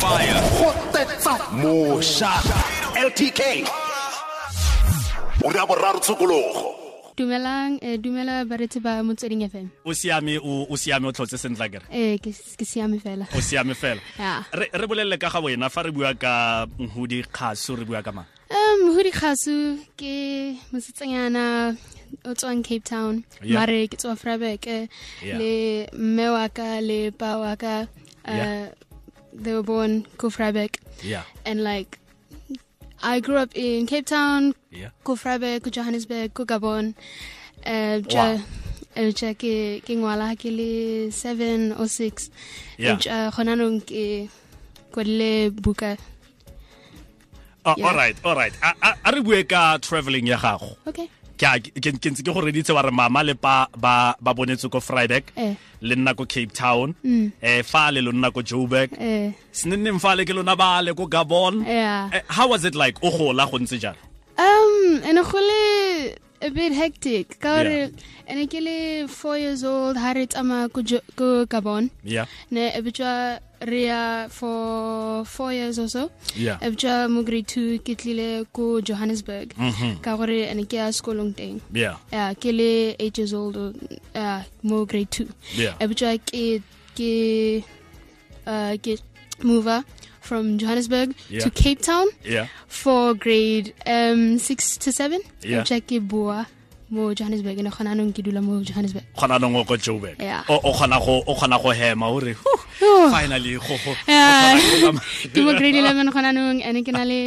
fire. mošwa ltk o ya boraro tshokologo dumelang eh, dumela baretsi ba motsweding fm o siame o o siame o tlhotse sentle kere ee ke ke siame fela o siame fela Ya. re re bolelle ka ga wena fa re bua ka mhudi kgaso re bua ka mang um hudi kgasu ke mosetsanyana o tswang cape town Yeah. mare ke tswa frabeke Yeah. le mme wa ka le pa wa ka uh, Yeah. they were born ko frabek yeah and like i grew up in cape town yeah ko Freiburg, ko Johannesburg, ko Gabon. Eh ja eh ja ke ke ngwala ke le 7 or 6. Yeah. Ja gona nong eh, ke ko le buka. Oh, Yeah. all right all right a a- a re bue ka traveling ya gago Okay. ke a- ke ke ntse ke go reditse wa re mama le pa ba ba bonetse ko Freiburg Eh Mm. le nna ko Cape Town eh fa le lo nna ko Joburg eh senenneng fa le ke lona ba le ko Gabon yeah. Eh, how was it like o gola go ntse jang Um and go le a bit hectic. Ka Yeah. re ene ke le 4 years old ha re tsama ko Jo- ko Gabon. yeah Ne e bitwa re ya for 4 years or so. yeah e bitsa mo grade two ke tlile ko johannesburg ka gore ene ke ya sekolong teng yeah ya ke le eight years old o- ya mo grade two Yeah. e bitsa ke ke uh, ke mover from johannesburg Yeah. to cape town yeah for grade um six to seven e Yeah. bitsa ke boa mo johannesburg ene gona anong ke dula mo johannesburg khona nongo ko Joburg Yeah. o o khona go o khona go hema o re "Huh, Huh. finally go go Yeah. go khona ke go mo tsamaya." grade eleven gona anong ene ke na le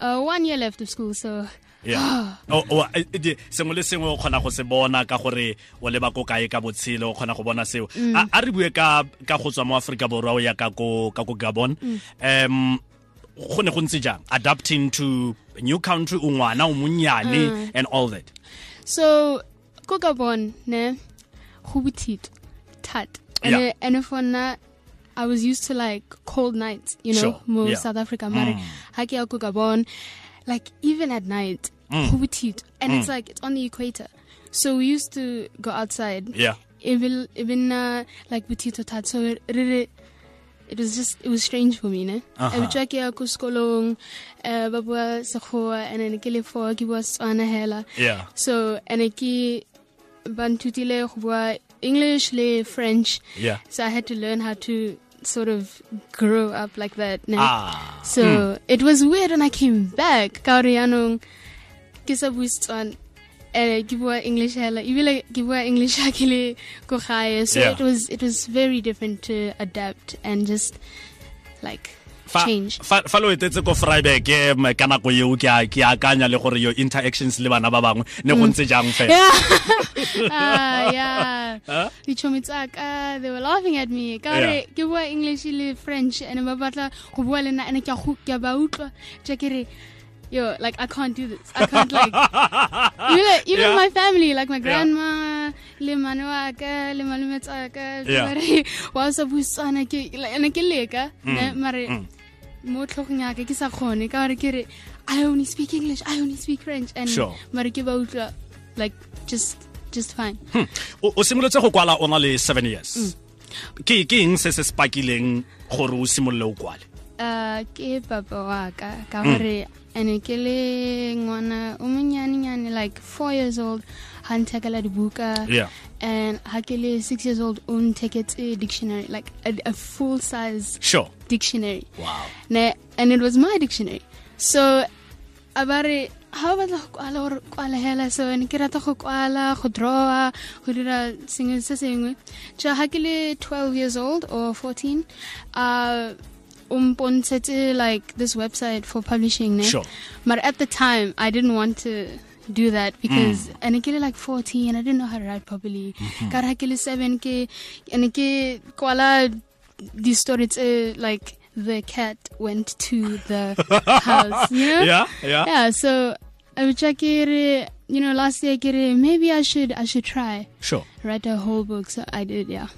uh, one year left of school so Yeah. O- o- e- e- di- sengwe le sengwe o kgona go se bona ka gore o leba ko kae ka botshelo o kgona go bona seo Mm. a a re bue ka ka go tswa mo Africa borwa o ya ka ko ka ko Gabon Mm. um go ne go ntse jang adapting to a new country o ngwana o Mm. monnyane and all that so ko gabon ne go bothito thata Yeah. and and for nna i was used to like cold nights you know Sure, mo yeah. Mm. south africa mare ha ke ya ko gabon like even at night Mm. go bothito and it's like it's on the equator so we used to go outside yeah e be e be nna like bothito thata so re re it was just it was strange for me ne Aha. e bitswa ke ya ko sekolong eh, ba bua sekgowa and then ke le four ke bua setswana hela yeah so ene ke ba nthutile go bua english le french yeah so i had to learn how to sort of grow up like that ne? ah so it was weird when i came back ka gore yaanong ke sa bue setswana ene ke bua eh, english hela ebile ke bua english ha ke le ko gae so Yeah. it was it was very different to adapt and just like fa change fa fa lo etetse ko Freiburg eh, m- ka nako eo ke a- ke akanya le gore your interactions le bana ba bangwe ne go ntse jang fela Mm. yeah. Ah, yeah. Dichomi tsaka they were laughing at me. Ka Yeah. re ke bua English le French and ba batla go bua le nna and ke a go ke a ba utlwa. Ja ke re yo like I can't do this. I can't like even, even Yeah. my family like my grandma le mane wa ka le malome tsaka Yeah. re wa sa buisana ke like, ene ke leka Mm. ne mare mo tlhogong ya ka ke sa kgone ka gore ke re I only speak English, I only speak French and Sure. mare ke ba utlwa like just just fine. Hmm. o o simolotse go kwala o na le seven Mm. years ke ke eng se se spakileng gore o simolole o kwale Uh, ke papa wa ka ka Mm. gore ene ke le ngwana o monyanenyane like four years old ha nthekela dibuka Yeah. and ha ke le six years old o ntheketse dictionary like a, a full size sure dictionary wow ne and it was my dictionary so a ba re ha o batla go kwala gore kwala hela so ne ke rata go kwala go drawa go dira sengwe se sengwe ja ha ke le 12 years old or 14 uh umpontshetse like this website for publishing ne Sure. but at the time i didn't want to do that because and mm. like 14 and i didn't know how to write properly ka re ha ke le 7 ke and ke kwala these stories uh, like the cat went to the house you know yeah yeah yeah so i would check it uh, you know last year get it maybe i should i should try sure write a whole book so i did yeah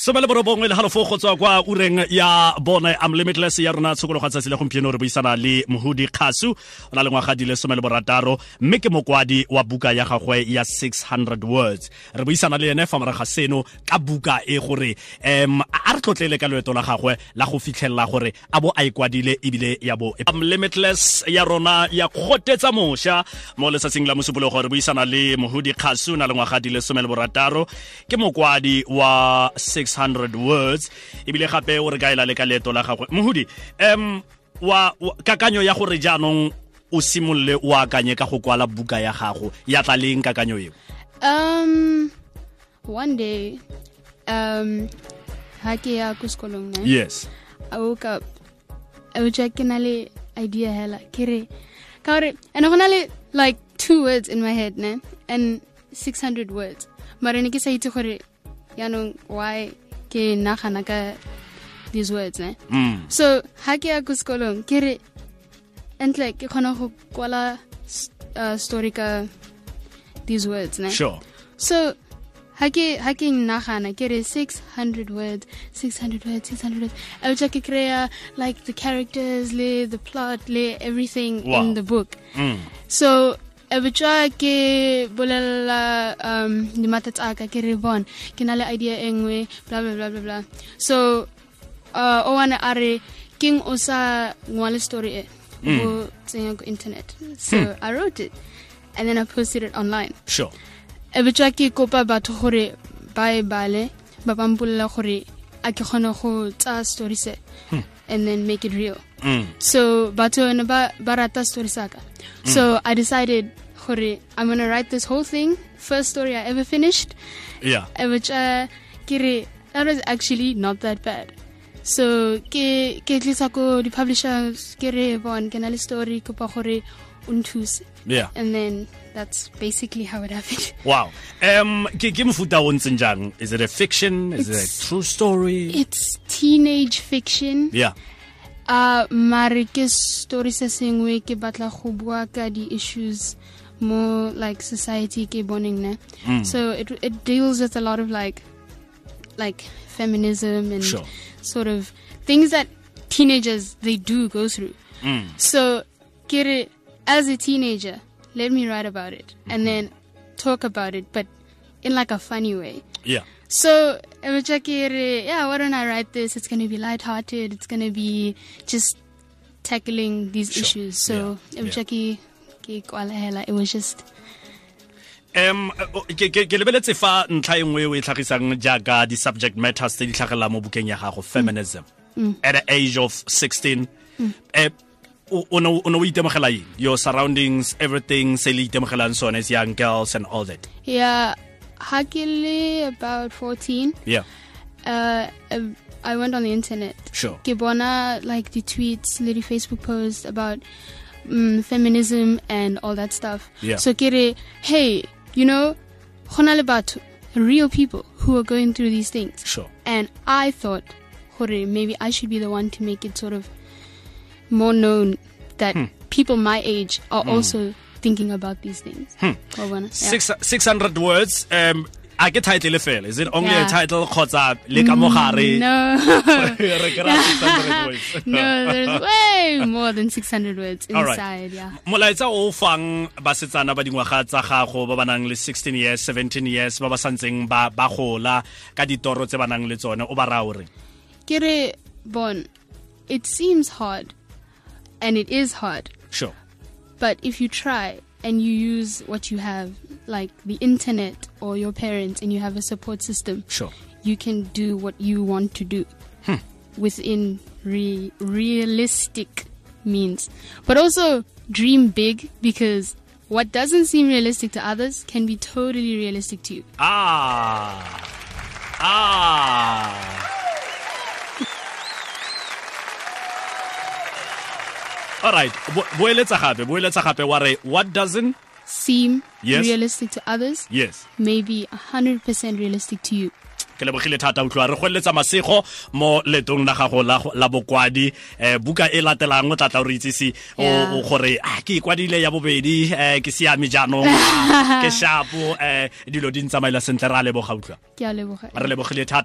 so some le borobongwe le halofo go tswa kwa ureng ya bone unlimitless ya rona tshokologa tsatsi le gompieno re buisana le mohudi kgasu o na le ngwaga di le some le borataro mme ke mokwadi wa buka ya gagwe ya 600 words re buisana le ene fa moraga seno ka buka e gore em a re tlotlele ka loeto la gagwe la go fitlhelela gore a bo a ikwadile ebile ya bo e- unlimitless ya rona ya kgotetsa mošwa mo letsatsing la mosupologo re buisana le mohudi kgasu o na le ngwaga di le some le borataro ke mokwadi wa 600 words ebile gape o re kaela le ka leeto la gagwe mohudi em wa wa- kakanyo ya gore jaanong o simolole o akanye ka go kwala buka ya gago ya tla leng kakanyo eo um one day um ha ke ya ko sekolong ne yes i woke up i was ke na le idea hela ke re ka gore and go na le like two words in my head ne and 600 words mara ne ke sa itse gore yaanong why ke nagana ka these words ne mm. so ha ke ya ko sekolong ke re entle ke kgona go kwala s- uh, story ka these words ne sure so ha ke ha ke nagana ke re 600 words 600 words 600 words i would like kry-a like the characters le the plot le everything Wow. in the book mm. so a bitsa ke bolelela um dimata tsa ka ke re bon ke na le idea e nngwe bla bla bla bla bla so uh, o wana a re keng o sa ngwale story e o Mm. bo tsenya ko internet so Hmm. i wrote it and then i posted it online sure e bitswa ke kopa batho gore ba e bale ba ba mpolelela gore a ke kgone go tsaya story se and then make it real mm. so batho ne ba ba rata story sa ka so i decided gore i'm going to write this whole thing first story i ever finished yeah e bitswa ke re that was actually not that bad so ke ke tlisa ko di-publishers ke re bon ke na le story kopa gore o nthuse yeah and then that's basically how it happened wow um ke ke mofuta o ntseng jang is it a fiction is it a It's- true story It's teenage fiction. yeah Uh mare ke story se sengwe ke batla go bua ka di issues more like society ke boneng ne. Hmm. So it it deals with a lot of like like feminism and Sure. sort of things that teenagers they do go through. Hmm. So get it as a teenager, let me write about it Hmm. and then talk about it but in like a funny way. yeah So, Emachakiri, yeah, why don't I write this? It's going to be lighthearted. It's going to be just tackling these Sure. issues. So, Yeah. Emachaki, yeah. it was just. em o- ke ke- ke lebeletse fa ntlha e nngwe o e tlhagisang jaaka di-subject matters tse di tlhagelela mo bukeng ya gago feminism Mm. at the age of 16 Eh, o o ne o o ne o itemogela eng your surroundings everything se le itemogelang sone as young girls and all that Yeah, Hakili, about 14, yeah uh, um, I went on the internet. sure Kibona, like the tweets, little Facebook posts about um, feminism and all that stuff. Yeah. So, Kiri, hey, you know, Honalibatu, real people who are going through these things. sure And I thought, Hore, maybe I should be the one to make it sort of more known that Hmm. people my age are also thinking about these things. Wa bona? Yeah. Hmm. Six, 600 words um a ke title le fela is it only a Yeah. Mm, title kgotsa le ka mogare No. re kry-a 600 words. no, there's way more than 600 words All right. inside, yeah. molaetsa o o fang basetsana ba dingwaga tsa gago ba ba nang le 16 years 17 years ba ba santseng ba ba gola ka ditoro tse ba nang le tsone o ba raya o reng Kere, bon, it seems hard, and it is hard, sure but if you try and you use what you have, like the internet or your parents, and you have a support system, sure you can do what you want to do within re- realistic means. But also dream big because what doesn't seem realistic to others can be totally realistic to you. ah ah all right bo boeletsa gape boeletsa gape wa re what doesn't Seem Yes. realistic to others yes may be 100% realistic to you. ke lebogile thata utlwa re goeletsa masego mo letong la gago la go- la bokwadi eh buka e latelang o tlatla o re itsise o- Yeah. o gore a ke ikwadile ya bobedi eh ke siame jaanong ah, ke shapo eh dilo di ntsamaela sentle re a leboga utlwa Ke a leboga. re lebogile thata